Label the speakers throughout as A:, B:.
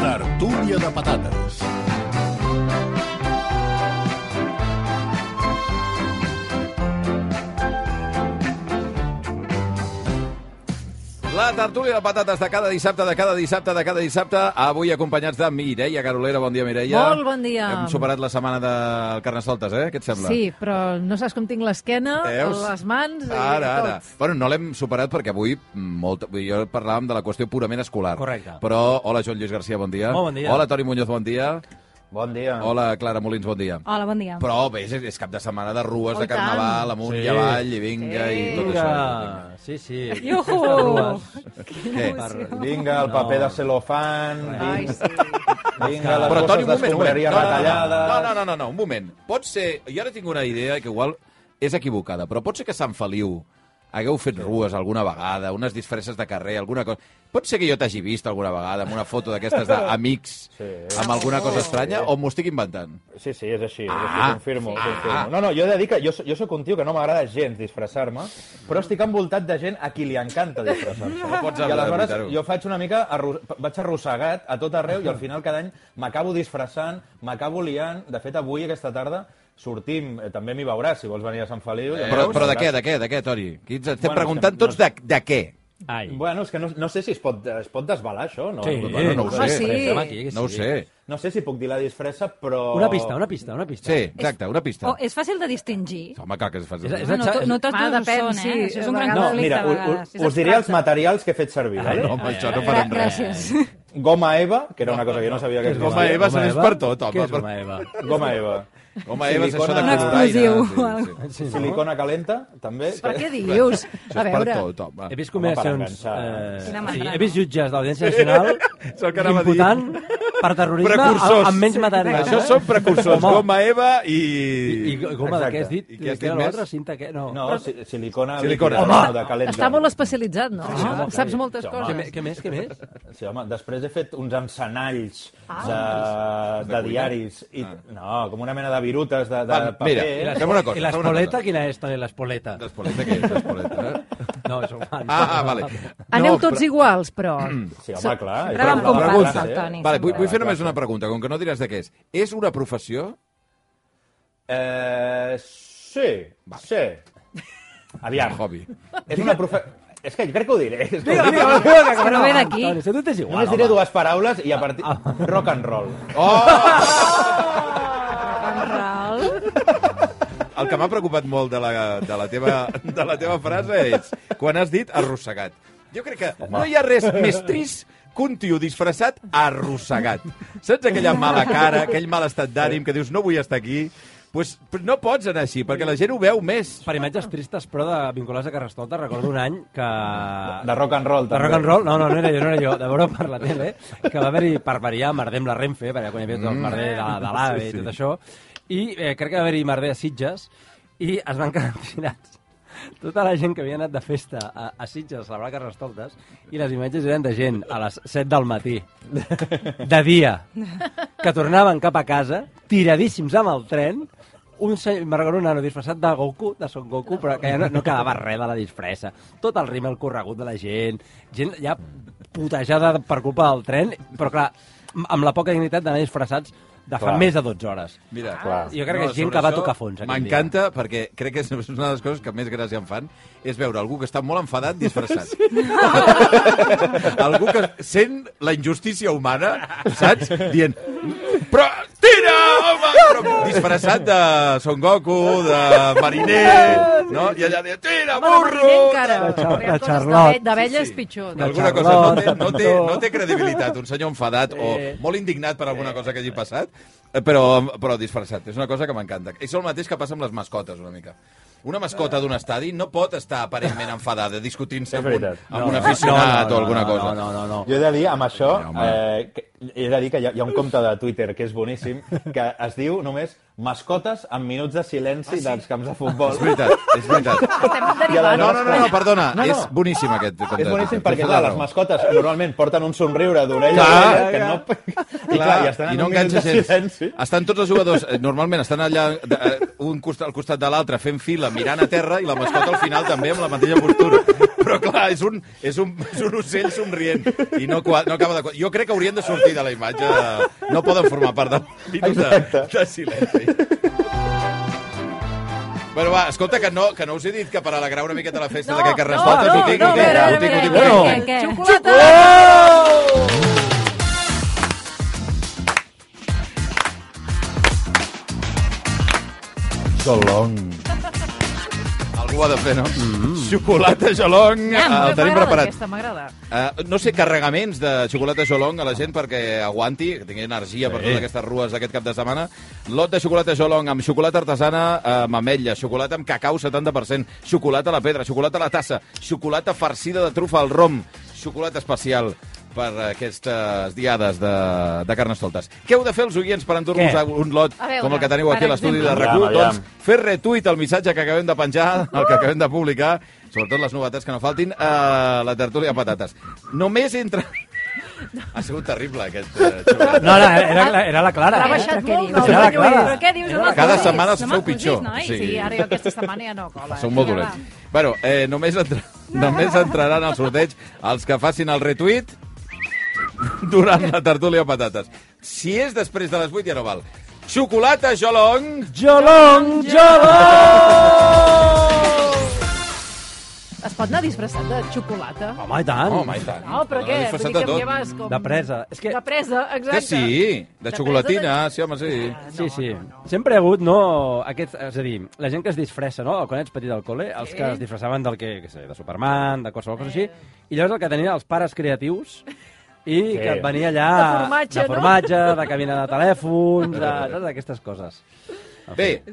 A: Tertúlia de patates.
B: La tertúlia de patates de cada dissabte, de cada dissabte, de cada dissabte, avui acompanyats de Mireia Carolera. Bon dia, Mireia.
C: Molt bon dia.
B: Hem superat la setmana del Carnestoltes, eh? Què et sembla?
C: Sí, però no saps com tinc l'esquena,
B: Veus?
C: les mans i
B: Ara, ara.
C: tot.
B: Bueno, no l'hem superat perquè avui molt... vull dir, jo parlàvem de la qüestió purament escolar.
D: Correcte.
B: Però, hola, Joan Lluís Garcia, bon dia.
D: Molt bon dia.
B: Hola, Toni Muñoz, bon dia.
E: Bon dia.
B: Hola, Clara Molins, bon dia.
F: Hola, bon dia.
B: Però, bé, és, és cap de setmana de rues,
C: Ah. Oh,
B: de
C: i tant.
B: carnaval, amunt sí. i
D: Sí.
B: avall, i vinga, sí. i tot això.
D: Vinga, sí, sí.
F: Iuhu!
B: Què?
E: Vinga, el
D: No.
E: paper de celofán,
C: Ai, sí.
E: vinga, les
B: Però, Toni, un moment,
E: bosses
B: un moment.
E: d'escombraria
B: No, no,
E: retallades...
B: no, no, no, no, no, un moment. Pot ser... Jo ara tinc una idea que igual és equivocada, però pot ser que a Sant Feliu hagueu fet rues alguna vegada, unes disfresses de carrer, alguna cosa... Pot ser que jo t'hagi vist alguna vegada amb una foto d'aquestes d'amics sí. amb alguna cosa estranya o m'ho estic inventant?
E: Sí, sí, és així, és així
B: Ah.
E: confirmo,
B: Ah.
E: confirmo. No, no, jo he de dir que jo, so- jo sóc un tio que no m'agrada gens disfressar-me, però estic envoltat de gent a qui li encanta disfressar-se. No
B: pots
E: I aleshores
B: evitar-ho.
E: jo faig una mica... Arru... Vaig arrossegat a tot arreu i al final cada any m'acabo disfressant, m'acabo liant. De fet, avui, aquesta tarda, sortim, eh, també m'hi veuràs, si vols venir a Sant Feliu. Ja
B: Però,
E: veuràs.
B: però de què, de què, de què, Toni? Aquí ens estem
E: Bueno,
B: preguntant
E: no-
B: tots de, de què.
D: Ai.
E: Bueno, és que no, no sé si es pot, es pot desvelar, això. No?
D: Sí.
E: Bueno, no, ho
B: Home,
E: sé.
C: sí.
B: No ho sé.
E: no sé si puc dir la disfressa, però...
D: Una pista, una pista, una pista.
B: Sí, exacte, una pista.
F: Oh, és fàcil de distingir.
B: Home, clar que es fa...
D: És- és-
F: No, no, to- no tots
C: Ah,
F: dos ho
C: depèn,
F: són, eh?
C: sí,
F: Això és un
C: a
F: gran
C: vegades-
E: No,
F: conflicte.
E: mira,
F: a
E: u- u-
F: vegades. És
E: us diré els
F: abstracte.
E: materials que he fet servir.
D: Ai,
E: Vale?
B: Ah, No, home, això no farem
F: Gra-
B: res.
F: Gràcies.
E: Goma Eva, que era una cosa que jo no sabia que existia.
B: Goma Eva,
D: Goma
B: se n'és
D: Eva?
B: per tot, home,
D: Què és
B: per-
D: Goma Eva?
E: Goma Eva.
B: Home, Eva, és això de
E: Un
B: coloraire,
F: explosiu.
B: sí, sí.
D: Sí, no?
E: Silicona calenta, també.
C: Per
E: que-
C: què dius?
B: Això
C: A
B: és per
C: veure,
B: tot, home.
D: He vist
E: Home, per
D: combinacions...
E: enganxar.
D: Eh,
F: Quina
D: o sigui,
F: mandra,
D: he vist
F: no?
D: jutges de l'Audiència Nacional
B: És el que anava a dir.
D: imputant per terrorisme
B: Precursors.
D: amb, amb menys material.
B: Això són precursors.
D: Home.
B: Goma Eva i...
D: I, i goma de
E: Exacte.
D: què has dit?
B: I què has
D: Que era
B: dit més?
D: l'altra cinta que... No.
E: No, si- silicona,
B: Silicona.
E: líquida, no, de calenta.
C: està molt especialitzat, no?
D: Sí, home,
C: Saps
D: sí.
C: moltes
E: Sí, home.
D: Què,
C: coses.
D: me- què més, què més?
E: Sí, home, després he fet uns encenalls ah, de, de,
B: cuina?
E: diaris. I, No, com una mena de virutes de, de
B: Va,
E: paper.
B: mira,
D: I
B: Fem una cosa,
D: I
B: fem una
D: l'espoleta,
B: cosa.
D: quina és també l'espoleta?
B: L'espoleta, què és l'espoleta? eh?
D: No, és un fan.
B: Ah, vale.
C: Aneu
B: No,
C: tots iguals, però...
E: Sí, home, clar.
F: Sempre
E: és
F: van
E: una
F: com
E: classe,
F: passa,
E: eh?
F: Toni.
B: Vale, vull, vull fer
E: Clar,
B: només
E: clar.
B: una pregunta, com que no diràs de què és. És una professió?
E: Eh, sí, sí. Aviam.
B: Un hobby.
E: És una profe... És que crec que ho diré. És que ho
D: Digue,
E: diré.
D: digue, digue,
C: que no ve d'aquí.
D: Antoni, si a tu t'és igual,
E: Només diré
D: home.
E: dues paraules i a partir... Rock and roll.
F: Control.
B: El que m'ha preocupat molt de la, de, la teva, de la teva frase és quan has dit arrossegat. Jo crec que Home. no hi ha res més trist que un tio disfressat arrossegat. Saps aquella mala cara, aquell mal estat d'ànim que dius no vull estar aquí? Pues, pues no pots anar així, perquè la gent ho veu més.
D: Per imatges tristes, però de vinculades a Carrestolta, recordo un any que...
E: De rock and roll,
D: De
E: també.
D: rock and roll? No, no, no era jo, no era jo. De veure per la tele, que va haver-hi, per variar, merder amb la Renfe, perquè quan hi havia tot el merder de, de l'AVE
B: Sí, sí.
D: sí, sí. i tot això, i eh, crec que va haver-hi merder a Sitges, i es van quedar tirats tota la gent que havia anat de festa a, a Sitges a celebrar Carrestoltes i les imatges eren de gent a les 7 del matí, de dia, que tornaven cap a casa, tiradíssims amb el tren, un senyor, me'n recordo un nano disfressat de Goku, de Son Goku, però que ja no, no quedava res de la disfressa. Tot el rímel corregut de la gent, gent ja putejada per culpa del tren, però clar, amb la poca dignitat d'anar disfressats de fa
E: Clar.
D: més de 12 hores.
B: Mira,
E: Clar.
D: Ah, Jo crec que és gent
B: sobre
D: que va
B: això
D: tocar fons aquell
B: M'encanta perquè crec que és una de les coses que més gràcia em fan és veure algú que està molt enfadat disfressat. algú que sent la injustícia humana, saps? Dient, però tira, home! Però disfressat de Son Goku, de mariner, no? I allà deia, tira,
C: Home, la
B: burro!
C: Marilyn encara.
D: De Char-
C: Hi ha
D: de
C: coses
D: Charlotte.
C: d'abell- D'abella és pitjor.
D: De
B: Alguna cosa no
D: Charlotte,
B: té, no, té,
D: pintor.
B: no té credibilitat, un senyor enfadat o molt indignat per alguna cosa que hagi passat, eh, però, però disfressat. És una cosa que m'encanta. És el mateix que passa amb les mascotes, una mica. Una mascota d'un estadi no pot estar aparentment enfadada discutint-se
E: És
B: amb un,
E: veritat.
B: amb un aficionat o alguna cosa.
D: No, no, no. no.
E: Jo he de dir, amb això,
B: Sí, home.
E: eh, que He de dir que hi ha, hi ha un compte de Twitter que és boníssim, que es diu només mascotes amb minuts de silenci ah, sí? dels camps de futbol.
B: És veritat, és veritat.
C: Estem
E: I a la
C: derivant.
B: No, no, no, no perdona,
E: No, no.
B: és boníssim aquest compte.
E: És boníssim
B: Tens
E: perquè,
B: tota la
E: clar, les
B: raó.
E: mascotes normalment porten un somriure d'orella a
B: Clar.
E: orella, que no... I clar, i estan en
B: no
E: un minut
B: enganxa
E: de
B: gens.
E: silenci.
B: Estan tots els jugadors, eh, normalment estan allà de, eh, un costat, al costat de l'altre fent fila, mirant a terra i la mascota al final també amb la mateixa postura. Però clar, és un, és un, és un ocell somrient i no, qua- no acaba de... qua- Jo crec que haurien de sortir de la imatge. No poden formar part del minut de, de silenci. Bueno, va, escolta, que no, que no us he dit que per alegrar una miqueta la festa
C: No,
B: d'aquest carnestoltes
C: no,
B: ho tinc,
C: no,
B: ho tinc,
C: no,
B: ho tinc, ho tinc, ho
F: no,
B: tinc.
F: no, no, no.
C: Xocolata!
E: Solong.
B: Algú ho ha de fer, no? Mm
E: Mm-hmm.
B: -hmm. Xocolata Jolong,
C: Ah,
B: el tenim preparat.
C: Aquesta m'agrada.
B: Uh, no sé, carregaments de xocolata Jolong a la gent perquè aguanti, que tingui energia sí. per totes aquestes rues d'aquest cap de setmana. Lot de xocolata Jolong amb xocolata artesana eh, amb ametlles, xocolata amb cacau 70%, xocolata a la pedra, xocolata a la tassa, xocolata farcida de trufa al rom, xocolata especial per aquestes diades de, de carnestoltes. Què heu de fer els oients per endur-nos
D: Què?
B: a un lot
C: A veure,
B: com el que teniu aquí a
C: per
B: l'estudi de
C: exemple.
B: RAC1?
E: Aviam, aviam.
B: Doncs fer retuit al missatge que acabem de penjar, el que acabem de publicar, sobretot les novetats que no faltin, a la tertúlia de patates. Només entre... Ha sigut terrible, aquest eh, xocolata.
D: No, era, era, la- era la Clara.
C: L'ha
D: eh?
C: baixat
F: Però què
C: molt,
F: dius?
C: no,
D: Era la
C: senyor
D: Clara.
C: Lluís. Però què dius? No
B: Cada
C: m'acusis,
B: setmana es
C: no
B: feu
C: m'acusis,
B: pitjor.
C: Noi?
B: Sí.
C: Sí. sí, ara jo aquesta setmana ja no
F: eh?
C: cola.
B: Són molt
C: Vinga,
B: dolents.
C: va.
B: Bueno, eh, només, entra... només entraran al sorteig els que facin el retuit durant la tertúlia de patates. Si és després de les 8 ja no val. Xocolata Jolong...
D: Jolong, jolong!
C: Es pot anar disfressat de xocolata?
D: Home, i tant.
B: Home, i tant.
C: No, però què?
B: L'ha
C: Vull
B: disfressat
C: dir que
B: de tot.
C: lleves com...
D: De presa. És que-
C: De presa, exacte.
B: Que sí, de
C: presa
B: xocolatina, sí, home, sí.
D: Sí, sí. Sempre hi ha hagut, no... Aquest, és a dir, la gent que es disfressa, no? Quan ets petit al col·le, els que es disfressaven del que, que sé, de Superman, de qualsevol
F: Eh.
D: cosa així, i llavors el que tenien els pares creatius i sí. que et venia allà...
C: De formatge,
D: de
C: no?
D: formatge, de cabina de telèfons, de- saps? d'aquestes coses.
B: Bé, uh,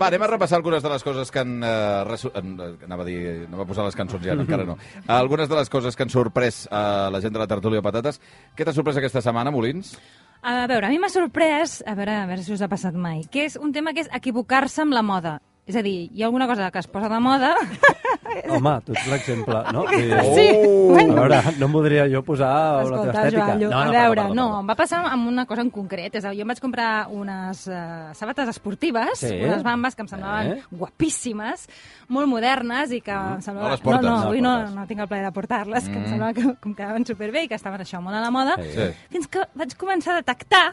B: va, anem a repassar algunes de les coses que han... Uh, resu... en- eh, anava a dir... Anava a posar les cançons ja, encara no. Algunes de les coses que han sorprès a la gent de la tertúlia de patates. Què t'ha sorprès aquesta setmana, Molins?
F: A veure, a mi m'ha sorprès, a veure, a veure si us ha passat mai, que és un tema que és equivocar-se amb la moda. És a dir, hi ha alguna cosa que es posa de moda...
D: Home, tu ets l'exemple, no? Vull dir,
F: sí,
D: A veure, no em voldria jo posar la teva
F: Escolta,
D: estètica.
F: Joan, Llu,
D: no,
F: a
D: no,
F: veure,
D: perdó,
F: no,
D: perdó,
F: em va passar amb una cosa en concret. És a dir, jo em vaig comprar unes uh, sabates esportives,
D: Sí.
F: unes bambes que em semblaven
D: Eh?
F: guapíssimes, molt modernes i que em
B: No
F: semblaven...
B: les portes.
F: no,
B: No les
F: no, avui no,
D: portes.
F: no tinc el plaer de portar-les, que em semblava que, que em quedaven superbé i que estaven això molt a la moda.
D: Sí.
B: Sí.
F: Fins que vaig començar a detectar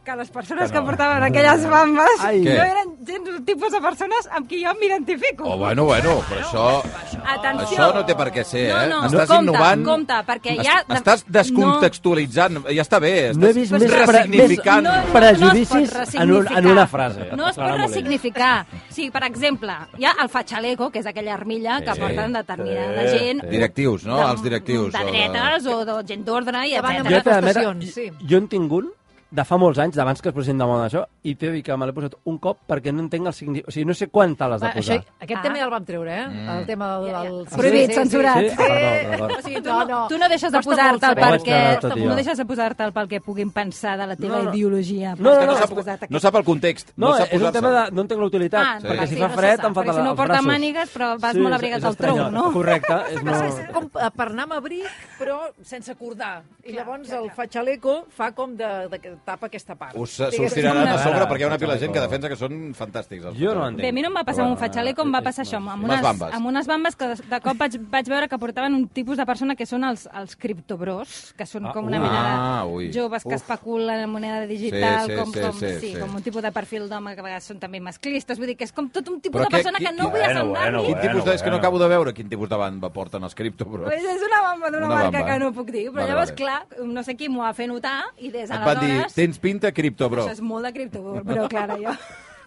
F: que les persones que, no. que portaven aquelles bambes
D: Ai.
F: no
B: Què?
F: eren gens el tipus de persones amb qui jo m'identifico.
B: Oh, bueno, bueno, però això...
F: Atenció.
B: Això no té per què ser, eh?
F: No, no,
B: Estàs
F: compte,
B: innovant...
F: compte, perquè ja...
B: Est- Estàs descontextualitzant, ja està bé. Estàs
D: No he vist més, pre més
B: ressignificant.
F: No, no, no
D: prejudicis
F: es pot
D: en, un, en una
F: ressignificar.
D: frase.
F: No es pot
D: Clara Molins.
F: ressignificar. Sí, per exemple, hi ha el fatxaleco, que és aquella armilla que
B: Sí.
F: porten determinada gent...
B: Directius, no?
F: de-
B: Els directius.
F: De
B: o de-
F: dretes o de gent d'ordre i
C: Que van
D: Jo,
C: amb-
F: etc.
D: t'he d'admetre,
C: Manifestacions, sí.
D: jo en tinc un de fa molts anys, d'abans que es posin de moda això, i t'he de dir que me l'he posat un cop perquè no entenc el significat. O sigui, no sé quan te l'has
C: Va,
D: de
C: això,
D: posar. Mm.
C: aquest tema ja el vam treure, eh? El tema del...
F: Ah. Ja, ja.
C: del-
F: Prohibit, censurat.
D: Sí? Ah, perdó, perdó.
C: O sigui, tu no, no.
F: Tu no deixes de
C: Costa molt
F: posar-te'l
C: saber.
D: Ho vaig
F: perquè...
D: quedar tot jo.
F: No deixes de posar-te'l pel que puguin pensar de la teva
D: No, no.
F: ideologia.
D: No,
F: perquè
D: no, no,
F: has
B: sap,
F: posat aquest-
B: no sap el context.
D: No,
B: No, sap
D: és un tema de...
B: posar-se'l.
D: No entenc la utilitat,
F: Ah,
D: perquè
F: sí,
D: si
F: no
D: fa
F: se
D: fred
F: sap,
D: em falten
F: perquè si no
D: els
F: porta
D: braços.
F: mànigues, però vas molt abrigat
D: és
F: al tronc,
D: estrany.
F: no?
D: Correcte. És no...
C: És com eh, per anar amb abric, però sense acordar. I llavors el fatxaleco fa com de, de que tapa aquesta part.
B: Us
C: Diguéssim,
B: sortiran
C: una-
B: a sobre
D: Ara,
B: perquè hi ha una pila de gent que
D: ara.
B: defensa que són fantàstics. els
D: Jo no entenc.
F: Bé, a mi no em va passar amb un fatxalé com va
D: és-
F: passar
D: és-
F: això, amb
B: Unes
F: unes,
B: bambes.
F: amb unes bambes que de, de cop vaig, vaig veure que portaven un tipus de persona que són els, els criptobros, que són
D: Ah,
F: com una
D: ui.
F: mena
B: Ah,
F: de
B: ui.
F: joves que
B: Uf.
F: especulen en moneda digital,
B: Sí, sí,
F: com,
B: sí,
F: com,
B: sí, sí.
F: com un tipus de perfil d'home que a vegades són també masclistes, vull dir que és com tot un tipus
B: Però
F: de
B: que-
F: persona que,
B: qui-
F: no vull
E: bueno,
F: assemblar-m'hi.
B: Quin
E: Bueno,
B: tipus de... És que no
E: bueno.
B: acabo de veure quin tipus de banda porten els cripto, però...
F: Pues és una bamba d'una
B: Una
F: marca
B: bamba.
F: que no puc dir,
B: Vale,
F: però vale, llavors,
B: vale.
F: clar, no sé qui m'ho va fer notar i des
B: Et van dir,
F: d'aleshores...
B: tens pinta cripto, bro.
F: Això és molt de criptobro, però clara, jo...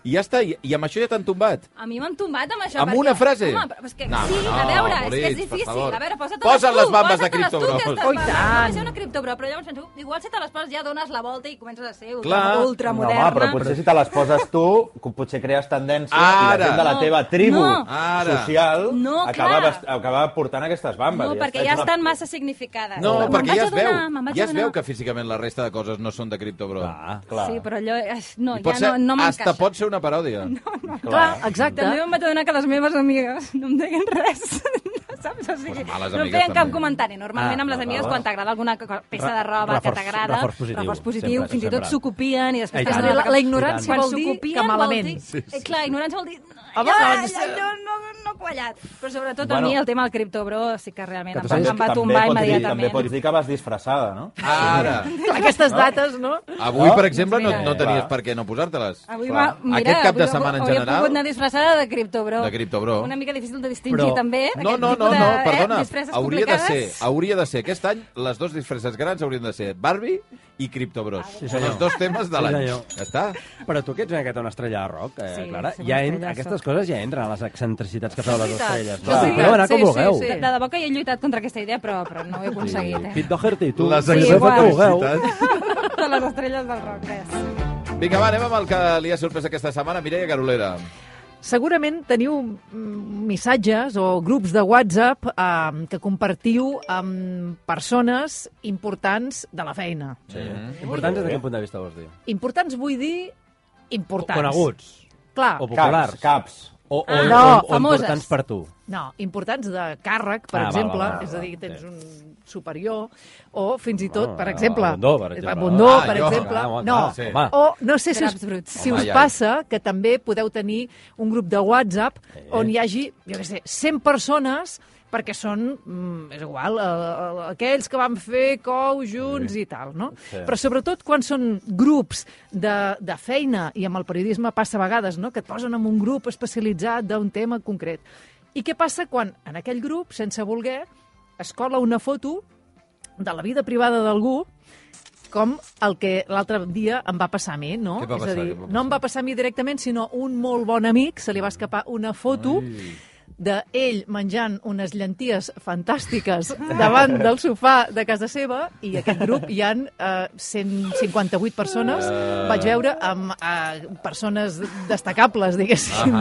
B: I ja està, i, i amb això ja t'han tombat.
F: A mi m'han tombat amb això.
B: Amb
F: perquè-
B: una frase?
F: Home, però és que
B: No,
F: sí,
B: no,
F: a veure, és que
B: Moritz,
F: és
B: per
F: difícil.
B: favor.
F: A veure, posa't
B: Posa't les bambes de
F: posa't-te-les tu,
B: Criptobros.
F: aquestes
C: Oh, i
F: bambes.
C: tant.
F: Va ser una criptobro, però llavors penso, igual si te les poses ja dones la volta i comences a ser
B: Clar.
F: ultramoderna.
E: No, home, però potser si te les poses tu, co- potser crees tendència i
B: Ara.
E: la gent de la
F: No.
E: teva tribu
F: No.
B: Ara.
E: social
F: No,
E: acaba,
F: clar.
E: vest- acaba portant aquestes bambes.
F: No,
E: i
F: perquè
E: està.
F: ja
E: És una-
F: estan massa significades.
B: No,
F: Me'n
B: perquè
F: vaig
B: ja es veu,
F: adonar, me'n vaig
B: ja es veu
F: adonar.
B: que físicament la resta de coses no són de criptobro. Ah,
E: Clar.
F: Sí, però allò... és- No,
B: I
F: ja
B: pot
F: no,
B: ser,
F: no m'encaixa.
B: hasta pot ser una paròdia. No,
C: Clar, exacte.
F: També em vaig adonar que les meves amigues no em deien res. Saps? O sigui,
B: Pues males
F: no em
B: amigues
F: feien cap
B: també.
F: comentari. Normalment
D: Ah,
F: amb les
D: no,
F: amigues,
D: no.
F: quan t'agrada alguna co- peça de roba
D: Reforç-
F: que t'agrada,
D: reforç positiu,
F: positiu
D: sempre,
F: fins i tot
D: sempre.
F: s'ho copien i
D: I
F: després...
D: tant.
F: t'adones
C: La-
F: que-
C: la ignorància
F: Quan
C: vol
F: s'ho
C: dir que
F: copien, vol
C: malament.
F: dir- Eh, clar, ignorància vol dir...
C: A
F: Allò,
C: vegades-
F: allò no, no quallat. Però sobretot a
E: Bueno.
F: mi el tema del criptobro sí que realment
D: Que
F: em
D: tu
F: va-
D: saps-
F: em va
E: També
F: tombar
E: pots dir- També
F: immediatament.
E: pots dir que vas disfressada, no?
B: Ah, Ara,
C: Clar, aquestes dates, no?
B: avui,
E: No?
B: per exemple, no, no
E: Clar.
B: tenies per què no posar-te-les.
F: Avui
E: Clar.
F: va, mira,
B: Aquest cap de
F: avui
B: setmana en
F: hauria
B: general-
F: pogut anar disfressada de criptobro.
B: De criptobro.
F: Una mica difícil de distingir,
D: Però-
F: també.
B: No,
F: Eh? aquest
B: no, no,
F: tipus de,
B: no, perdona.
F: Eh, disfresses
B: hauria de ser,
F: publicades.
B: hauria de ser. Aquest any les dues disfresses grans haurien de ser Barbie i Criptobros.
D: Sí,
B: Són
D: senyor.
B: els dos temes de
D: Sí,
B: l'any.
D: senyor.
B: ja està.
D: Però tu que ets una miqueta una estrella de rock, eh,
F: Sí,
D: Clara,
F: soc una
D: ja
F: estrella
D: en,
F: de
D: aquestes
F: rock.
D: coses ja entren a les excentricitats que feu les
C: veritat,
D: estrelles.
C: és
D: No?
F: veritat,
D: Podeu anar com
C: sí, sí,
D: vulgueu.
C: sí.
F: De, de debò que jo he lluitat contra aquesta idea, però, però no ho he aconseguit. Eh?
D: Pete Doherty, tu.
B: Les
D: podeu fer el que vulgueu.
B: excentricitats.
F: De les estrelles del rock, res.
B: Vinga, va, anem amb el que li ha sorprès aquesta setmana, Mireia Garolera.
C: Segurament teniu mm, missatges o grups de WhatsApp eh, que compartiu amb persones importants de la feina.
D: Sí. Importants des de quin punt de vista vols dir?
C: Importants vull dir importants.
D: Coneguts.
C: Clar,
D: O populars.
E: Caps, caps.
D: O, o,
F: Ah,
D: o,
C: no,
D: o
F: famoses.
D: importants per tu.
C: no, importants de càrrec, per
D: Ah, val,
C: exemple,
D: val, val,
C: és a dir,
D: val,
C: tens
D: sí.
C: un superior, o fins i tot,
D: Ah,
C: per exemple...
D: Bundó, per exemple.
C: Bundó,
B: Ah,
C: per
B: jo.
C: exemple.
D: Ah, home,
C: no,
D: clar,
B: sí.
D: home.
C: O no sé si us,
F: Draps bruts.
C: si
B: Home,
C: us
B: ja.
C: passa que també podeu tenir un grup de WhatsApp
B: Eh.
C: on hi hagi, jo què sé, 100 persones perquè són, mm, és igual, eh, eh, aquells que van fer cou junts i tal, no? Però sobretot quan són grups de, de feina, i amb el periodisme passa a vegades, no?, que et posen en un grup especialitzat d'un tema concret. I què passa quan en aquell grup, sense voler, es cola una foto de la vida privada d'algú com el que l'altre dia em va passar a mi, no?
B: Què va
C: és
B: passar?
C: a dir,
B: Què va
C: no em va passar a mi directament, sinó un molt bon amic se li va escapar una foto d'ell menjant unes llenties fantàstiques davant del sofà de casa seva i aquest grup hi han eh, 158 persones,
B: Ah.
C: vaig veure amb eh, persones destacables, diguéssim,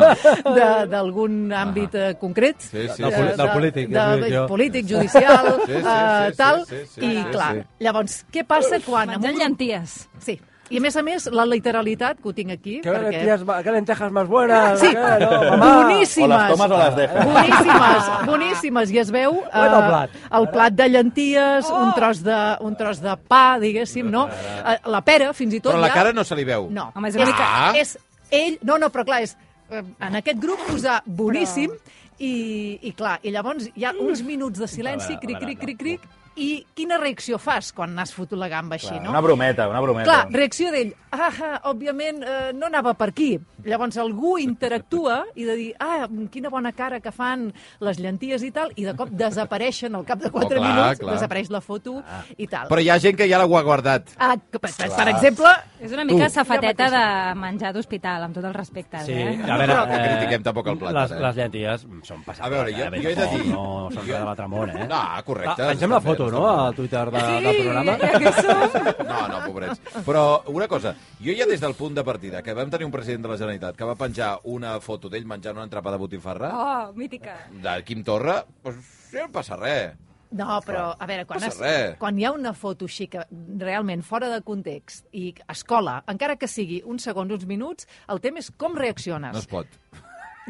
C: de- d'algun àmbit eh, concret.
B: Sí, sí,
D: Del
B: sí.
D: poli- del polític,
C: De,
D: jo- jo.
C: polític, judicial,
B: Sí, sí, sí,
C: eh,
B: sí,
C: tal,
B: sí, sí,
C: i
B: sí,
C: clar,
B: sí.
C: Llavors, què passa quan...
F: Menjant llenties.
C: Sí. I a més a més, la literalitat, que ho tinc aquí,
D: Que
C: perquè...
D: lentejas, ma- que lentejas más buenas.
C: Sí,
D: que no, mamá.
E: O les
C: boníssimes.
E: tomes o
F: Ah,
E: les dejes.
C: Boníssimes, boníssimes. I es veu eh,
D: Bueno, el plat.
C: el plat de llenties, un, tros de, un tros de pa, diguéssim, no? Eh, La pera, fins i tot...
B: Però la
C: ja-
B: cara no se li veu.
C: No.
F: Home, és
C: és,
F: bonica.
B: Ah.
C: és ell... No, no, però clar, és eh, en aquest grup posar boníssim i, i clar, i llavors hi ha uns minuts de silenci, cric, cric, cric, cric, i quina reacció fas quan n'has fotut la gamba així, no?
E: Una brometa, una brometa.
C: Clar, reacció d'ell. Ah, ah, òbviament, eh, no anava per aquí. Llavors algú interactua i de dir, ah, quina bona cara que fan les llenties i tal, i de cop desapareixen al cap de 4
B: Oh, clar,
C: minuts,
B: clar.
C: desapareix la foto ah. i tal.
B: Però hi ha gent que ja l'ha guardat.
C: Ah, que, per, per, per exemple,
F: És una mica safateta de menjar d'hospital, amb tot el respecte.
D: Sí,
F: Eh?
D: a veure,
B: Però que critiquem tampoc el plat,
D: Les,
B: eh?
D: les llenties són passades.
B: A veure, jo-
D: eh? Bé,
B: jo he de
D: tampoc
B: dir-
D: No, són de l'altre món, eh?
B: No, correcte.
D: Ah, Pengem la
B: Està bé,
D: foto,
B: està
D: no?,
B: bé.
D: al Twitter de, del programa.
F: ja que som.
B: No, no, pobrets. Però una cosa, jo ja des del punt de partida, que vam tenir un president de la Generalitat que va penjar una foto d'ell menjant una entrapa de botifarra,
F: Oh, mítica.
B: de Quim Torra, doncs ja no passa res.
C: No, però, a veure, quan,
B: passa
C: es,
B: res.
C: quan hi ha una foto així que realment fora de context i es cola, encara que sigui uns segons, uns minuts, el tema és com reacciones.
B: No es
C: No,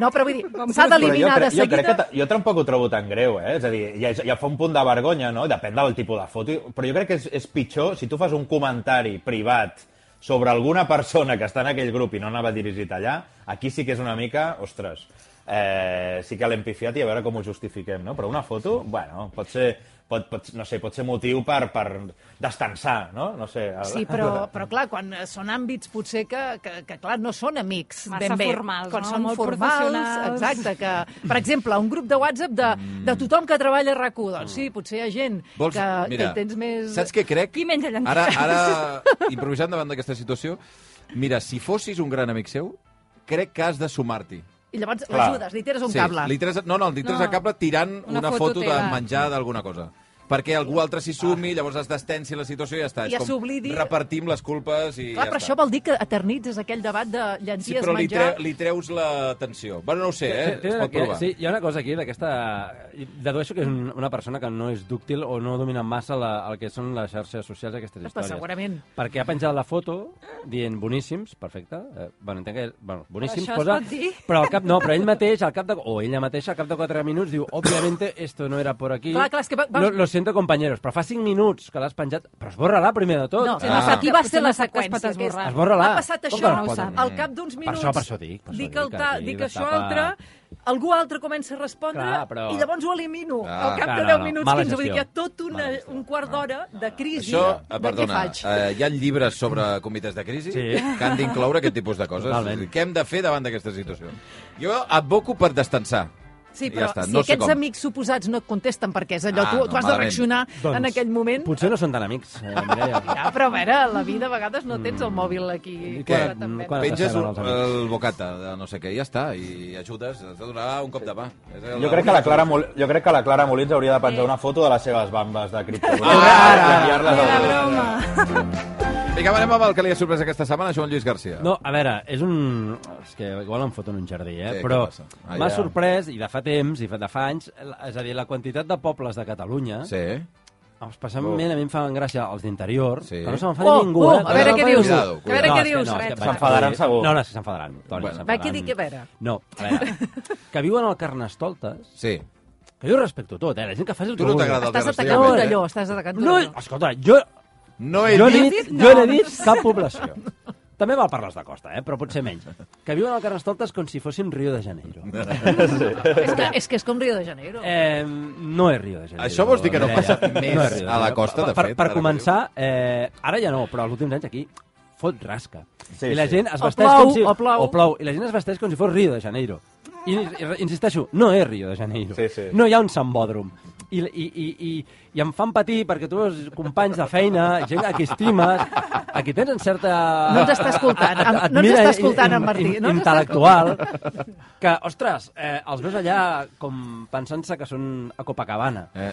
B: pot.
C: però vull dir, s'ha d'eliminar de
E: jo, crec que,
C: seguida...
E: ta- jo tampoc ho trobo tan greu, eh? És a dir, ja, ja fa un punt de vergonya, no? Depèn del tipus de foto. Però jo crec que és, és pitjor si tu fas un comentari privat sobre alguna persona que està en aquell grup i no anava dirigit allà, aquí sí que és una mica... Ostres, eh, sí que l'hem pifiat i a veure com ho justifiquem, no? Però una foto, bueno, pot ser... Pot, pot, no sé, pot ser motiu per, per destensar, no? No sé. el-
C: Sí, però, però clar, quan eh, són àmbits potser que, que, que clar, no són amics
F: Massa
C: ben bé.
F: formals,
C: quan
F: no?
C: són
F: Molt
C: formals,
F: professionals.
C: exacte. Que, per exemple, un grup de WhatsApp de, de tothom que treballa a RAC1. Doncs sí, potser hi ha gent
B: Mm. Vols,
C: que,
B: mira,
C: que hi tens més...
B: saps què crec?
F: Qui menja llenties?
B: Ara, ara improvisant davant d'aquesta situació, mira, si fossis un gran amic seu, crec que has de sumar-t'hi.
C: I llavors
E: Clar.
C: l'ajudes, li tires un cable.
B: Li tires, no, no, li tires
F: No.
B: no. a cable tirant
F: Una
B: una, una
F: foto
B: foto, de
F: teva.
B: menjar d'alguna cosa. Perquè algú altre s'hi sumi, llavors es destensi la situació i ja està.
C: Ah. I
B: És
C: ja s'oblidi.
B: Repartim les culpes i
C: Clar,
B: ja
C: però
B: està.
C: això vol dir que eternitzes aquell debat de llenties
B: Sí, però li,
C: menjar...
B: tre li treus la tensió. Bueno, no ho sé, eh?
D: Té- té-
B: Es pot
D: que-
B: provar.
D: Sí, hi ha una cosa aquí d'aquesta... Dedueixo que és un- una persona que no és dúctil o no domina massa la, el que són les xarxes socials aquestes
C: Però
D: històries.
C: segurament.
D: Perquè ha penjat la foto dient boníssims, perfecte. Eh, bueno, entenc que... Bueno, boníssims
F: Però això es
D: posa...
F: pot dir?
D: Però al cap... No, però ell mateix, al cap de... O ella mateixa, al cap de 4 minuts, diu, obviamente, esto no era por aquí.
C: Clar, clar, és que va- va-
D: Lo, lo siento, compañeros, però fa 5 minuts que l'has penjat... Però esborra-la primer de tot.
C: No,
F: Ah.
C: ah. aquí va ser la seqüència.
F: Es pot esborrar.
D: Esborra-la.
C: Ha passat
D: Com
C: això,
D: que no ho sap?
C: al cap d'uns
D: Per
C: minuts,
D: això- per això dic, per això
C: dic,
D: dic,
C: el ta,
D: aquí
C: dic
D: de
C: això
D: tapar.
C: altre, algú altre comença a respondre
D: Clar, però-
C: i llavors ho elimino.
B: Ah.
C: al cap
D: Clar,
C: de
D: no,
C: 10
D: no,
C: minuts,
D: mala
C: 15, vull dir que
D: gestió.
C: hi ha tot una,
D: Mala gestió. Ah.
C: un quart d'hora de crisi
B: Això, eh,
C: de
B: perdona,
C: què faig.
B: eh, hi ha llibres sobre comitès de crisi
D: Sí.
B: que han d'incloure aquest tipus de coses.
D: Totalment.
B: És a dir, Què hem de fer davant d'aquesta situació? Jo advoco per destensar.
C: Sí,
B: I
C: però
B: ja està,
C: si
B: no sé
C: aquests
B: com.
C: amics suposats no et contesten perquè és allò,
B: Ah,
C: tu,
B: no,
C: tu has de
B: malament.
C: reaccionar en aquell moment.
D: doncs, Potser no són tan amics, eh, Mireia.
C: Ja, però a veure, a la vida a vegades no tens el mòbil aquí.
B: què?
D: I
C: Quan, també.
D: Mm. Quan-
B: Penges
D: decebre
B: un,
D: Ah, els amics.
B: el bocata de no sé què, i ja està, i ajudes, has de donar un cop de mà. És
E: Jo crec, que la Clara Mol... jo crec que la Clara Molins hauria de penjar
F: Eh.
E: una foto de les seves bambes de criptomonedes.
C: Ah,
B: Ara!
E: i enviar-les a
F: Era
E: Europa.
F: broma.
B: Vinga, anem amb el que li ha sorprès aquesta setmana, Joan Lluís García.
D: No, a veure, és un... És que igual em foto en un jardí, eh?
B: Sí, què
D: Però
B: passa? Ah,
D: m'ha
B: ja.
D: sorprès, i de fa temps, i fa- de fa anys, la- és a dir, la quantitat de pobles de Catalunya, sí.
B: Sí.
D: especialment a mi em fan gràcia els d'interior,
B: Sí.
D: que no se'n fan
C: Oh,
D: ningú.
C: oh,
D: eh?
C: a veure
D: No,
C: què
D: no,
C: dius.
D: no,
B: Cuidado,
C: A veure
D: no,
C: què
D: és que
C: dius.
D: No, és que
C: Red
D: vaig-
C: Flag.
E: S'enfadaran segur.
D: No, no, sí, s'enfadaran. Toni,
B: Bueno.
D: s'enfadaran.
C: Va, què dic, què vera?
D: No, a veure, que viuen al Carnestoltes,
B: Sí.
D: que jo respecto tot, eh? La gent que faci el
B: Tu
D: que
B: no
D: vulgui.
B: t'agrada el
C: Estàs
B: Carles
C: atacant
D: Tallabella,
C: un
D: eh?
C: talló, estàs atacant un
D: No,
C: talló.
D: escolta, jo
B: No he
D: jo
B: dit...
D: n'he dit,
F: No.
D: jo n'he dit cap població. També val per les de costa, eh? però potser menys. Que viuen al Carnestoltes com si fossin Rio de Janeiro.
C: És que, és que és com Rio de Janeiro.
D: Eh, no és Rio de Janeiro.
B: Això vols dir que no
D: Mireia.
B: passa més
D: és Rio de
B: a la
D: Janeiro.
B: costa, de
D: per,
B: fet,
D: Per
B: ara que
D: començar, eh, ara ja no, però els últims anys aquí fot rasca.
E: Sí,
D: I la
E: sí.
D: gent es
C: O
D: vesteix
C: plou,
D: com si...
C: o plou.
D: O plou. I la gent es vesteix com si fos Rio de Janeiro. I, i re- insisteixo, no és Rio de Janeiro.
E: Sí, sí.
D: No hi ha un sambòdrom. I, i, i, i, I em fan patir perquè tu veus companys de feina, gent a qui estimes, a qui tens en certa...
C: No ens està escoltant.
D: a- a-
C: No ens
D: admira
C: està escoltant,
D: eh, in-
C: en Martí.
D: in-
C: No ens està
D: intel·lectual, que, ostres, eh, els veus allà com pensant-se que són a Copacabana.
B: Eh,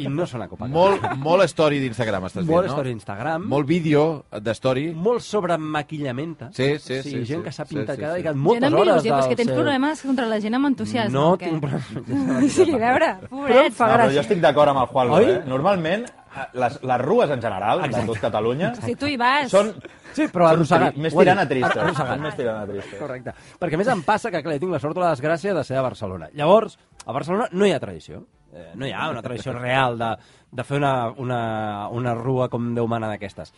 D: I no són a Copacabana.
B: molt, molt story d'Instagram, estàs
D: Molt
B: dient, no?
D: story Instagram.
B: Molt vídeo de story.
D: molt sobre maquillamenta.
B: Sí, sí,
D: o sigui,
B: sí,
D: Gent
B: sí,
D: que s'ha
B: sí,
D: pintat,
B: sí,
D: que ha
B: sí.
D: dedicat
F: Gent
D: moltes
F: amb
D: hores
F: il·lusió, però és que
D: del
F: tens
D: seu-
F: problemes contra la gent amb entusiasme.
D: No
F: o què?
D: tinc problemes.
F: O sigui, a veure,
C: Però em
F: pobrets.
C: fa
E: No, però jo
C: gràcia.
E: estic d'acord amb el Juanlo,
D: Oi?
E: eh? Normalment, eh, les, les rues en general, de tot Catalunya,
F: Si tu hi vas...
E: són,
D: Sí, però
E: són
D: arrossegat.
E: tri- més
D: ho he dit.
E: tirant a tristes.
D: Arrossegat.
E: Són més tirant a tristes.
D: Correcte. Perquè a més em passa que clar, jo tinc la sort o la desgràcia de ser a Barcelona. Llavors, a Barcelona no hi ha tradició. Eh, no hi ha una tradició real de, de fer una, una, una rua com Déu mana d'aquestes.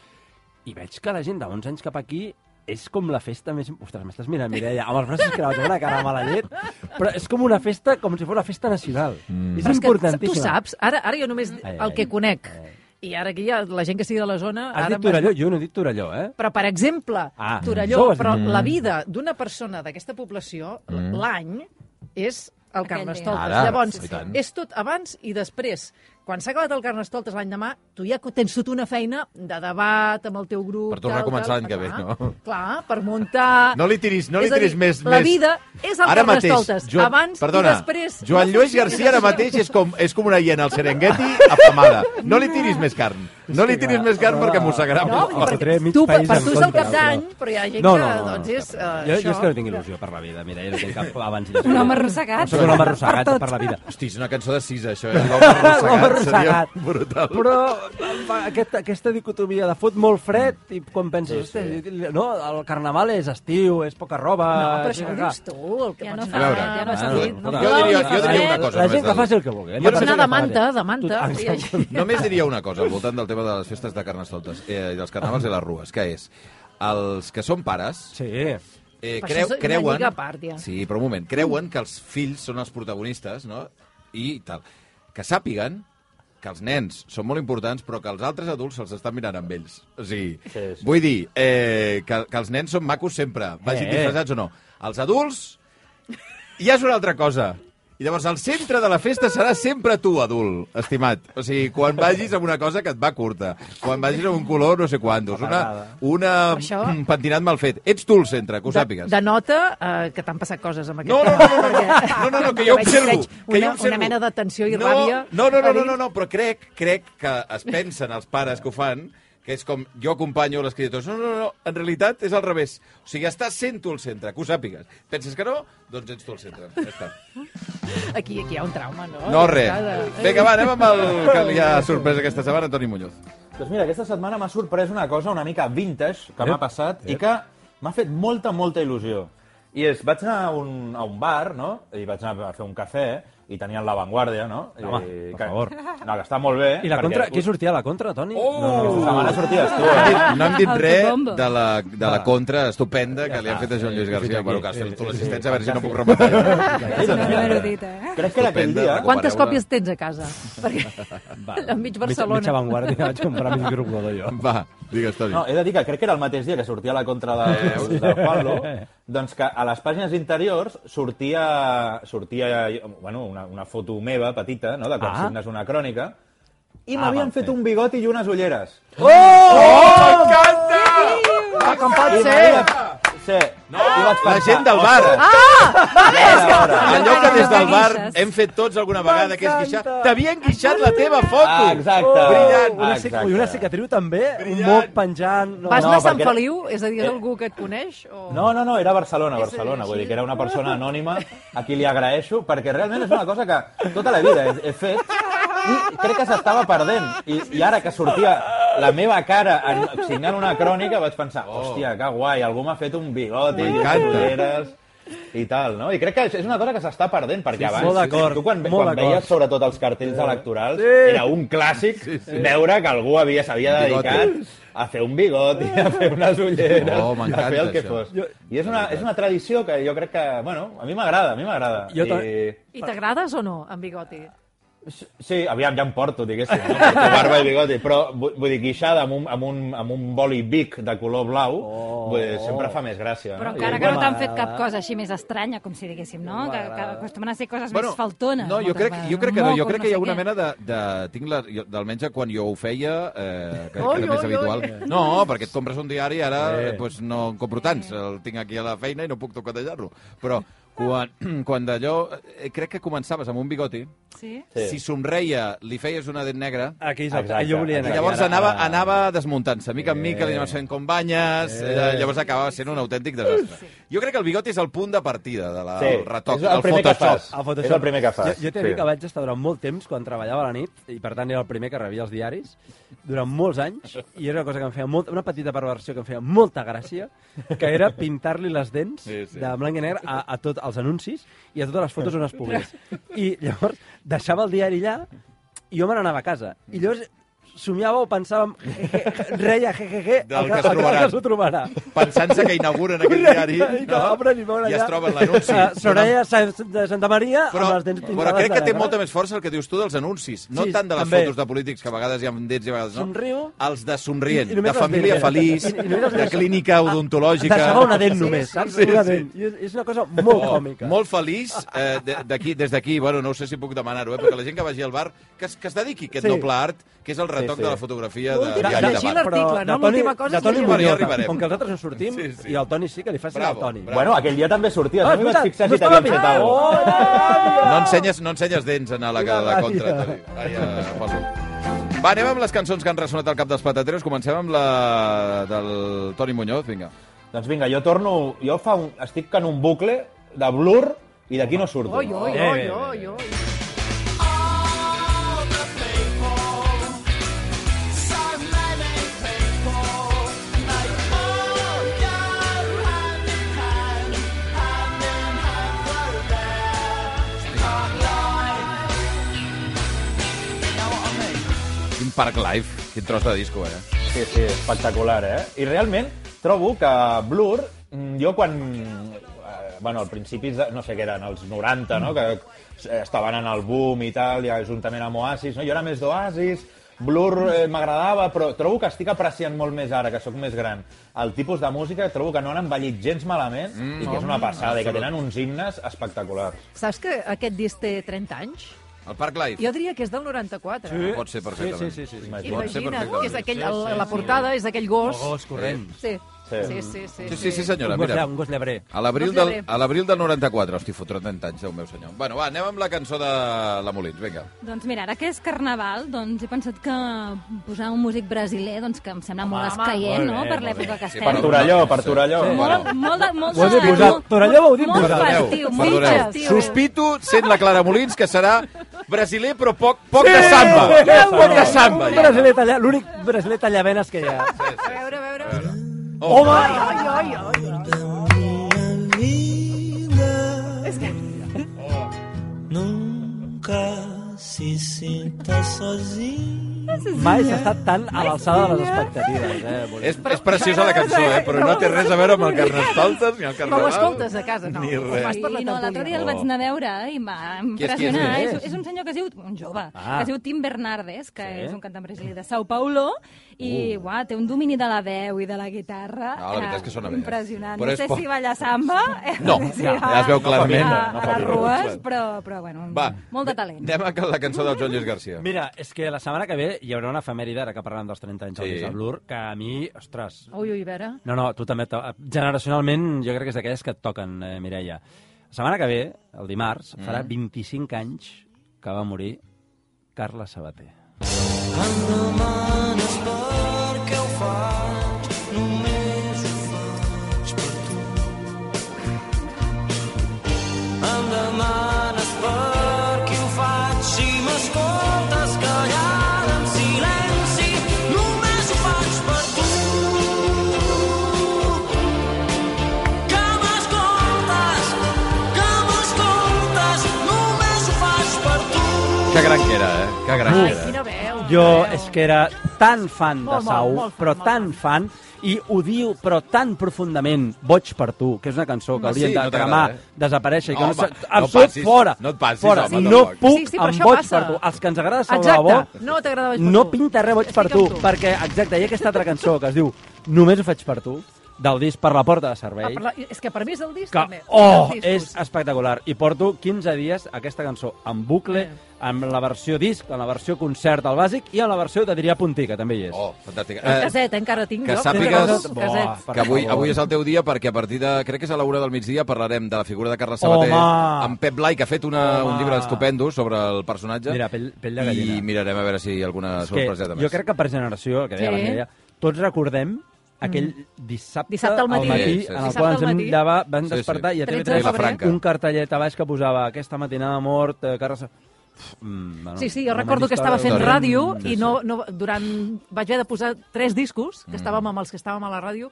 D: I veig que la gent de 11 anys cap aquí és com la festa més... Ostres, m'estàs mirant, Mireia, amb els braços creuats, amb una cara mala llet, però és com una festa, com si fos una festa nacional. Mm. És
C: Però és que
D: importantíssim.
C: tu saps, ara, ara jo només
D: Ai,
C: el que
D: ai,
C: conec,
D: ai.
C: i ara aquí ja la gent que sigui de la zona...
D: Has
C: ara
D: dit Torelló, jo no he dit Torelló, eh?
C: Però, per exemple,
D: Ah,
B: mm.
C: Torelló,
D: això ho has
C: però
D: dit.
C: la vida d'una persona d'aquesta població, l'any, és el
F: Aquell
C: Carnestoltes.
B: Mm. dia. Ara,
C: Llavors,
B: i tant.
C: és tot abans i després. Quan s'ha acabat el Carnestoltes l'any demà, tu ja tens tota una feina de debat amb el teu grup...
B: Per tornar a
C: tal,
B: començar
C: tal,
B: l'any que ve,
C: clar,
B: no?
C: Clar, per muntar...
B: No li tiris, no li
C: És a
B: tiris
C: dir,
B: més...
C: La
B: més.
C: vida és el
B: Ara mateix,
C: Carnestoltes,
B: Joan-
C: abans
B: perdona,
C: i després.
B: Joan
C: No
B: Lluís
C: funciona
B: García ara
C: això.
B: mateix és com, és com una hiena al Serengeti afamada. No li tiris més carn. No li tiris més carn perquè mossegarà.
C: No,
B: molt fort.
D: Fotré mig
C: perquè tu, per,
D: país
C: per
D: en
C: tu és el
D: contra,
C: cap d'any, però hi ha gent
D: No,
C: que,
D: no, no, no,
C: doncs,
D: no,
C: és... eh,
D: Jo, jo és
C: això.
D: que no tinc il·lusió per la vida, mira, jo no tinc cap abans. i després.
F: Un home arrossegat.
D: Soc un home arrossegat per, la vida.
B: Hosti, és una cançó de Cisa, això, eh? L'home arrossegat.
D: L'home arrossegat.
B: Seria brutal.
D: Però em fa aquesta, aquesta dicotomia de fot molt fred i quan penses, sí, sí. no, el carnaval és estiu, és poca roba...
C: No, però això ho dius tu, el que
F: Ja
C: pots
F: no
C: fer.
F: fa,
B: A veure,
F: ja
C: Ah,
F: no s'ha
D: bueno,
F: dit. no
D: escolta,
F: plou,
B: jo diria- jo
F: no fa
B: diria una
C: eh,
F: fred.
B: cosa.
D: La
B: només
D: gent que
B: del-
D: faci el que vulgui. eh?
B: Jo
D: Potser
B: no sé
D: que
C: anar de
D: faci.
C: manta, de manta.
D: Tot-
C: Hi ha gent-
B: Només diria una cosa al voltant del tema de les festes de Carnestoltes eh, i dels carnavals i les rues, que és els que són pares
D: Sí.
B: eh,
C: Però
B: creu,
C: això és una
B: creuen...
C: lliga a part, ja.
B: Sí, però un moment. Creuen que els fills són els protagonistes, no? I tal. Que sàpiguen que els nens són molt importants, però que els altres adults se'ls estan mirant amb ells. O sigui, sí,
E: Sí,
B: sí.
E: sí.
B: vull dir, eh, que, que els nens són macos sempre, vagin
D: Eh,
B: eh,
D: eh.
B: disfressats o no. Els adults ja és una altra cosa. I llavors el centre de la festa serà sempre tu, adult, estimat. O sigui, quan vagis amb una cosa que et va curta, quan vagis amb un color no sé quantos, una, una
C: Això-
B: un pentinat mal fet. Ets tu el centre, que ho sàpigues.
C: Denota eh, que t'han passat coses amb aquest
B: No, no,
C: home,
B: no, no, no,
C: perquè-
B: no, no, no, que jo
C: veig-
B: observo.
C: veig
B: que jo
C: una-
B: observo.
C: Una mena de tensió i
B: no,
C: ràbia.
B: No, no,
C: a
B: no, no,
C: dins.
B: no, no, però crec, crec que es pensen els pares que ho fan que és com jo acompanyo les criatures. No, no, no, en realitat és al revés. O sigui, estàs sent tu el centre, que ho sàpigues. Penses que no? Doncs ets tu el centre. Ja està.
C: Aquí, aquí hi ha un trauma, no?
B: No, res.
C: Cada-
B: Vinga, va, anem amb el que li ha sorprès aquesta setmana, Toni Muñoz.
E: Doncs mira, aquesta setmana m'ha sorprès una cosa una mica vintage que m'ha passat i que m'ha fet molta, molta il·lusió. I és, vaig anar a un, a un bar, no?, i vaig anar a fer un cafè, i tenien La Vanguardia, no? I,
D: Home, per favor.
E: No, que està molt bé.
D: I la
E: perquè
D: contra...
E: us-
D: Qui sortia a la contra, Toni?
B: Oh!
D: No, no,
E: Aquesta
D: no.
E: setmana sorties tu,
B: No
E: eh?
B: hem dit- no hem dit
F: Autobombo.
B: res de la, de la contra estupenda que li ha fet a Joan Lluís García. Bueno, que has fet tu l'assistència, a veure si no puc rematar. jo.
E: Sí, doncs,
F: No m'he
E: mira,
F: dit, eh?
E: Crec que era aquell
B: Estupenda,
E: dia...
B: la
C: Quantes
B: Veure.
C: còpies tens a casa? Perquè a mig Barcelona.
D: Mitja avantguàrdia, vaig comprar mig grup jo.
B: Va, digues, Toni.
E: No, he de dir que crec que era el mateix dia que sortia la contra de, de Juanlo, doncs que a les pàgines interiors sortia, sortia bueno, una, una foto meva petita, no?, de quan
D: Ah.
E: ah. signes una crònica, i
D: Ah,
E: m'havien
D: val,
E: fet
D: sí.
E: un bigot i unes ulleres.
B: Oh,
E: eh,
C: Ah, com pot
E: I
C: ser?
E: m'havien- Sí. No, vaig
B: La gent del bar. Allò que des del bar hem fet tots alguna vegada, que és guixar. T'havia enguixat la teva foto.
E: Ah, exacte.
C: Oh.
B: Brillant.
D: Una, cic...
E: Exacte.
D: Ui, una cicatriu també, un
B: Brillant.
D: moc penjant... No, Eh.
C: Vas anar a Sant
E: perquè era-
C: Feliu? És a dir, és algú que et coneix? O...
E: No, no, no, era Barcelona,
C: És a dir,
E: Barcelona. Vull
C: així.
E: dir que era una persona anònima a qui li agraeixo, perquè realment és una cosa que tota la vida he, he fet i crec que s'estava perdent. I, I ara que sortia la meva cara en, signant una crònica vaig pensar,
D: Oh.
E: hòstia, que guai, algú m'ha fet un bigot i unes
B: M'encanta.
E: ulleres i tal, no? I crec que és una cosa que s'està perdent, perquè
D: Sí, sí,
E: abans,
D: molt d'acord,
E: tu quan,
D: molt
E: quan
D: d'acord.
E: veies sobretot els cartells electorals, era un clàssic veure que algú havia s'havia
B: Un bigote.
E: dedicat a fer un bigot i a fer unes ulleres,
B: Oh,
E: a fer el
B: m'encanta,
E: que
B: això.
E: fos. I és una, és una tradició que jo crec que, bueno, a mi m'agrada, a mi m'agrada.
D: Jo ta-
E: I...
C: I t'agrades o no, amb bigoti?
E: Sí, aviam, ja em porto, diguéssim, no? Porto barba i bigoti, però vu- vull dir, guixada amb un, amb un, amb un boli bic de color blau, oh. vull dir, sempre fa més gràcia.
B: Ah,
F: Però
E: no?
F: encara
E: I,
F: que no
E: bueno,
F: t'han fet cap cosa així més estranya, com si diguéssim, no? Que, que acostumen a ser coses bueno, més faltones.
B: no, jo
F: moltes
B: crec,
F: vegades,
B: jo crec que no, jo
F: mocos,
B: crec que hi ha
F: sé
B: una
F: què.
B: mena de... de tinc la, jo, almenys quan jo ho feia, eh, que,
C: Oi,
B: que era més
C: oi,
B: habitual.
C: oi.
B: No, perquè et compres un diari, ara eh. pues, no en compro tants. El tinc aquí a la feina i no puc tocatejar-lo. Però quan, quan d'allò... Eh, crec que començaves amb un bigoti,
F: Sí?
B: sí. si somreia li feies una dent negra,
D: Aquí,
E: Exacte.
D: jo
B: I
D: volia anar.
B: llavors
E: Ara-
B: anava, anava desmuntant-se, mica en
D: Eh.
B: mica, li anaves fent com banyes, eh. llavors acabava sent un autèntic desastre. Jo crec que el bigot és el punt de partida del
E: Sí,
B: del retoc,
E: és el primer que
B: Photoshop.
E: fas.
D: A Photoshop.
E: És el primer que fas,
D: Jo, jo t'he
E: sí.
D: dit que vaig estar durant molt temps, quan treballava a la nit, i per tant era el primer que rebia els diaris, durant molts anys, i era una cosa que em feia molt, una petita perversió que em feia molta gràcia, que era pintar-li les dents sí,
B: Sí, sí.
D: sí. de blanc i negre a, a tots els anuncis i a totes les fotos on es pogués. I llavors deixava el diari allà i jo me n'anava a casa. I llavors somiava o pensava, en- reia, jejeje,
B: Del que es
D: que
B: trobaran.
D: s'ho trobarà.
B: Pensant-se que inauguren aquell diari,
D: I que obren i veuen
B: I
D: allà...
B: es troben l'anunci.
D: eh, Soraya Sáenz de Santa Maria
B: Però,
D: amb les dents pintades
B: però crec que
D: de
B: té
D: negre.
B: molta més força el que dius tu dels anuncis, no
D: Sí,
B: tant de les
D: també.
B: fotos de polítics, que a vegades hi ha amb dents i a vegades no.
D: Somriu.
B: Els de somrient,
D: I- i només
B: de
D: les
B: família
D: dents.
B: feliç,
D: I- i només les
B: de
D: dents. Ah,
B: clínica odontològica...
D: Deixava una dent només, saps? Sí, una dent. I és, és una cosa molt
B: Oh,
D: còmica.
B: molt feliç eh, de- d'aquí, des d'aquí, bueno, no ho sé si puc demanar-ho, eh, perquè la gent que vagi al bar, que es, que es dediqui a aquest
D: Sí.
B: sí. noble art, que és el retoc sí,
E: sí.
B: sí. de la fotografògrafia de,
C: L'última-
B: de, de,
C: llegir
B: de bar.
C: l'article, no?
D: de Toni-
C: L'última cosa
D: de
C: és
D: Toni
C: llegir.
D: Muñoz,
B: Bueno, ja arribarem.
D: Com que nosaltres no sortim,
B: Sí, sí.
D: i el Toni sí que li facin
B: Bravo,
D: el Toni.
B: bravo.
E: Bueno, aquell dia també sorties,
D: Ah,
E: no m'hi vaig fixar si
D: estava
E: t'havien fet alguna cosa.
B: No ensenyes, no ensenyes dents en la, la, la contra. Toni. Ai, eh, poso. Va, anem amb les cançons que han ressonat al cap dels patateros. Comencem amb la del Toni Muñoz, vinga.
D: oh.
E: Doncs vinga, jo torno... Jo fa un, estic en un bucle de blur i d'aquí no surto.
C: Oi, oi,
D: Bé,
C: oi,
D: bé,
C: oi, oi.
B: Quin Park Life, quin tros de disco, eh?
E: Sí, sí, espectacular, eh? I realment trobo que Blur, mm, jo quan... eh, Bueno, al principi, de, no sé què eren, els 90, no? Que eh, estaven en el boom i tal, i juntament amb Oasis, no? Jo era més d'Oasis, Blur eh, m'agradava, però trobo que estic apreciant molt més ara, que sóc més gran. El tipus de música trobo que no han envellit gens malament mm, i que és una passada, i que tenen uns himnes espectaculars.
C: Saps que aquest disc té 30 anys?
B: El Park Life.
C: Jo diria que és del 94.
D: Sí.
B: Pot ser perfectament.
D: Sí, sí, sí. sí.
E: Imagina't.
B: Pot ser
C: Imagina't,
B: perfectament.
C: és aquell,
D: Sí,
C: el,
D: sí,
C: la
D: sí.
C: portada és d'aquell gos.
D: O gos corrent.
C: Sí.
E: Sí.
C: Sí, sí, sí.
B: Sí, sí, sí, senyora,
D: un, gos,
B: mira.
D: un gos llebrer.
B: A l'abril
C: No sé
B: del,
C: bé.
B: a l'abril del 94. Hosti, fotró 30 anys, Déu meu senyor. Bueno, va, anem amb la cançó de la Molins, vinga.
F: Doncs mira, ara que és carnaval, doncs he pensat que posar un músic brasiler, doncs que em sembla molt escaient,
D: molt
F: no?,
D: bé,
F: per
D: molt
F: l'època que
B: Sí,
F: estem.
E: Per Torelló, per
B: Sí.
E: Torelló.
D: Sí.
E: Bueno,
F: Molt, molt, de, molt,
D: Ho has dit
F: de-
D: posat.
F: molt-
D: Torelló ho heu dit,
F: molt
D: posat.
F: festiu, molt
B: perdoneu.
F: festiu.
B: Sospito, sent la Clara Molins, que serà brasiler, però poc, poc de samba. Poc de samba.
D: Un
B: ja.
D: brasiler talla- L'únic brasiler tallavenes que hi ha.
C: A veure, a veure.
B: Oh,
C: Ai, ai, ai.
A: Nunca se sinta sozinho.
D: Mai s'ha estat tan a l'alçada de les expectatives. Eh? Molins?
B: És, és preciosa la cançó, eh? però no té res a veure amb el Carnestoltes ni el
C: Però ho
B: Carnaval.
C: escoltes a casa, no?
B: Ni
C: Ho
B: res.
C: fas per la
F: Sí, no, l'altre dia
C: tertúlia.
F: el vaig anar a veure eh, i em va
B: Oh. Qui és, qui és,
F: impressionar.
B: qui
F: és,
D: és?
F: és, un senyor que es diu, un jove,
D: Ah.
F: que es diu Tim Bernardes, que
D: Sí.
F: és un cantant brasiler de Sao Paulo, i uà, té un domini de la veu i de la guitarra
B: Uh.
F: eh,
B: No, la veritat és que sona bé. eh?
F: impressionant.
B: Però
F: no
B: és
F: sé
B: poc.
F: si balla samba, eh,
B: No,
F: sé si
B: ja,
F: va
B: ja es veu clarament.
F: A,
E: No
F: a
E: fa
F: les
E: birra,
F: rues,
B: clar.
F: però, però bueno,
B: Va,
F: molt de talent.
B: anem a la cançó del Joan Lluís Garcia.
D: Mira, és que la setmana que ve hi haurà una efemèride, ara que parlem dels 30 anys
B: Sí.
D: del Disney Blur, que a mi, ostres...
C: Ui, ui, a veure.
D: No, no, tu també... to- Generacionalment jo crec que és d'aquelles que et toquen, eh, Mireia. La setmana que ve, el dimarts, farà 25 anys que va morir Carla Sabater.
A: Em demanes per qui ho faig si m'escoltes callant en silenci. Només ho faig per tu. Que m'escoltes, que m'escoltes, només ho faig per tu.
B: Que gran que era, eh? Que gran que
C: Ai,
B: era.
C: quina veu. quina
D: Jo
C: veu.
D: és que era tan fan de
C: Molt, molt,
D: Sau,
C: molt fan,
D: però
C: molt
D: tan fan, i odio, però tan profundament, Boig per tu, que és una cançó que haurien
B: sí,
D: de
B: no t'agrada,
D: cremar,
B: eh?
D: desaparèixer, i que
B: Home,
D: no,
B: no
D: no absolut
B: passis-
D: fora.
B: no et passis,
D: fora.
B: home,
D: no
B: tampoc.
D: puc
C: Sí, sí, però
D: amb
C: això
D: Boig
C: passa.
D: per tu. Els que ens agrada Sau de
C: Exacte.
D: bo,
C: No t'agrada Boig per
D: no
C: tu.
D: pinta res Boig per
C: Estic
D: tu,
C: amb tu.
D: perquè, exacte, hi ha aquesta altra cançó que es diu Només ho faig per tu, del disc Per la porta de
C: Ah,
D: servei,
C: per la... És que per mi és el disc,
D: que,
C: també.
D: oh,
C: Dels
D: és
C: discos.
D: espectacular. I porto 15 dies aquesta cançó en bucle, amb la versió disc, amb la versió concert al bàsic i amb la versió de Diria Puntí, que també hi és.
B: Oh, fantàstica.
C: Eh, Caset, encara tinc
B: que
C: jo.
B: sàpigues-
C: Caset.
D: Per
B: que avui,
D: favor.
B: avui és el teu dia perquè a partir de, crec que és a l'hora del migdia, parlarem de la figura de Carles Sabater
D: Home!
B: amb Pep Blai, que ha fet una,
D: Home!
B: un llibre estupendo sobre el personatge.
D: Mira, pell- pell de gallina.
B: I mirarem a veure si hi ha alguna
D: És que
B: sorpreseta més.
D: Jo crec que per generació, el que deia
C: Sí. Mm.
D: la Mireia, tots recordem aquell dissabte,
C: Dissabte al matí.
B: Sí, sí,
D: en
B: sí.
D: el
C: Dissabte
D: qual
C: al
D: ens vam,
C: matí.
D: llevar, vam
B: Sí, sí.
D: despertar i a
C: 13
D: TV3
C: de febrer.
D: un cartellet a baix que posava aquesta matinada mort, eh, Carles... Uf, mm, bueno,
C: Sí, sí,
D: una
C: jo recordo que
D: història
C: estava fent
D: horrenda.
C: ràdio
D: Sí,
C: i
D: sí.
C: no, no, durant... vaig haver de posar tres discos,
D: Mm.
C: que estàvem amb els que estàvem a la ràdio,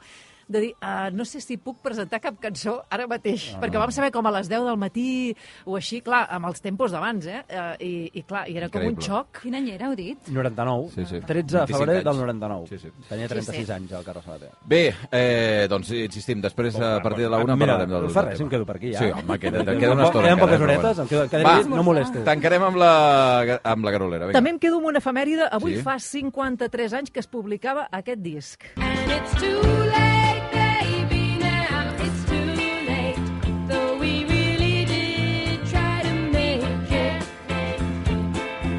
C: de dir, uh, no sé si puc presentar cap cançó ara mateix, ah. perquè vam saber com a les 10 del matí o així, clar, amb els tempos d'abans, eh? Uh, i, I clar, i era com
B: Increïble.
C: un xoc.
F: Quin any era, heu dit?
D: 99,
B: Sí, sí.
D: 13 de
B: 25
D: febrer
B: anys.
D: del 99.
B: Sí, sí.
D: Tenia 36
C: Sí, sí.
D: anys el Carles Sabater.
B: Bé, eh, doncs insistim, després a partir de la una
D: Mira,
B: parlarem del
D: no fa res,
B: tema.
D: em quedo per aquí, ja.
B: Sí, home, queda,
D: Em
B: queda una
D: po-
B: estona.
D: queden
B: encara,
D: poques
B: però
D: horetes,
B: bueno.
D: em quedo- quedaré dit, no molesto.
B: Tancarem amb la, amb la Garolera. Vinga.
C: També em quedo amb una efemèride. Avui
B: Sí.
C: sí. fa 53 anys que es publicava aquest disc.
G: And it's too late, baby, now it's too late. Though we really did try to make it.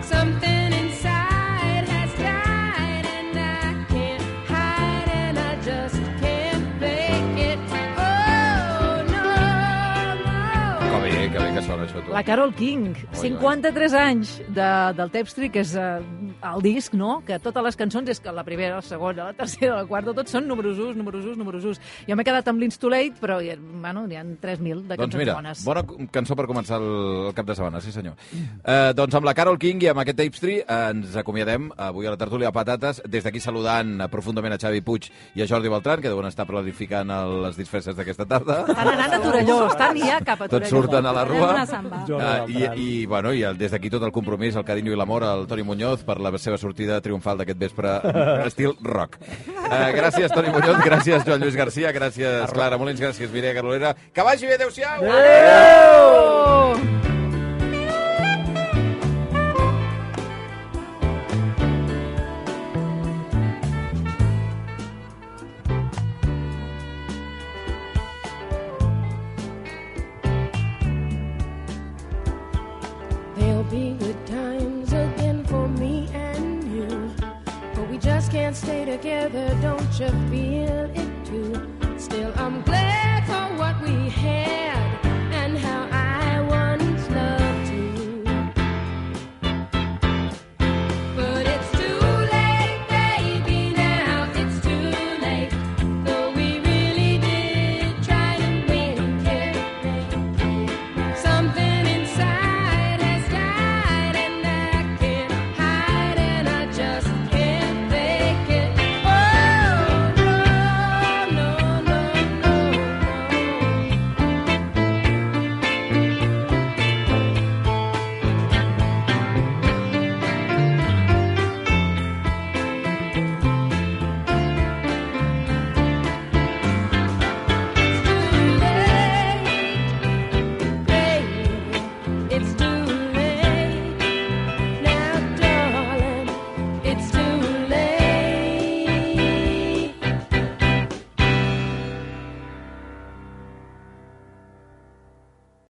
G: Something inside has died, and I can't hide, and I just can't fake it. Oh, no, no.
B: Que bé, que bé que sona això, tu.
C: La Carol King, 53 anys de, del Tapestry, que és eh, el disc, no?, que totes les cançons és que la primera, la segona, la tercera, la quarta, tots són números 1, números 1, números 1. Jo m'he quedat amb l'Instolate, però hi ha- bueno, n'hi ha 3.000 de cançons
B: Doncs mira,
C: bones.
B: bona cu- cançó per començar el, el cap de setmana, sí senyor. Eh, doncs amb la Carol King i amb aquest tapestry eh, ens acomiadem avui a la tertúlia de patates, des d'aquí saludant eh, profundament a Xavi Puig i a Jordi Beltran, que deuen estar planificant el, les disfresses d'aquesta tarda.
C: Estan anant a Torelló, estan ja cap a Torelló.
B: Tots surten a la
F: Farem
B: rua.
F: una samba.
B: Uh, i, i, bueno, i el, des d'aquí tot el compromís, el carinyo i l'amor al Toni Muñoz per la seva sortida triomfal d'aquest vespre estil rock. Uh, gràcies, Toni Muñoz, gràcies, Joan Lluís Garcia, gràcies, Clara Molins, gràcies, Mireia Garolera. Que vagi bé, adeu-siau! Adeu!
C: Oh!
G: be good times again for me and you. But we just can't stay together, don't you feel it too? Still, I'm glad for what we had. Oh,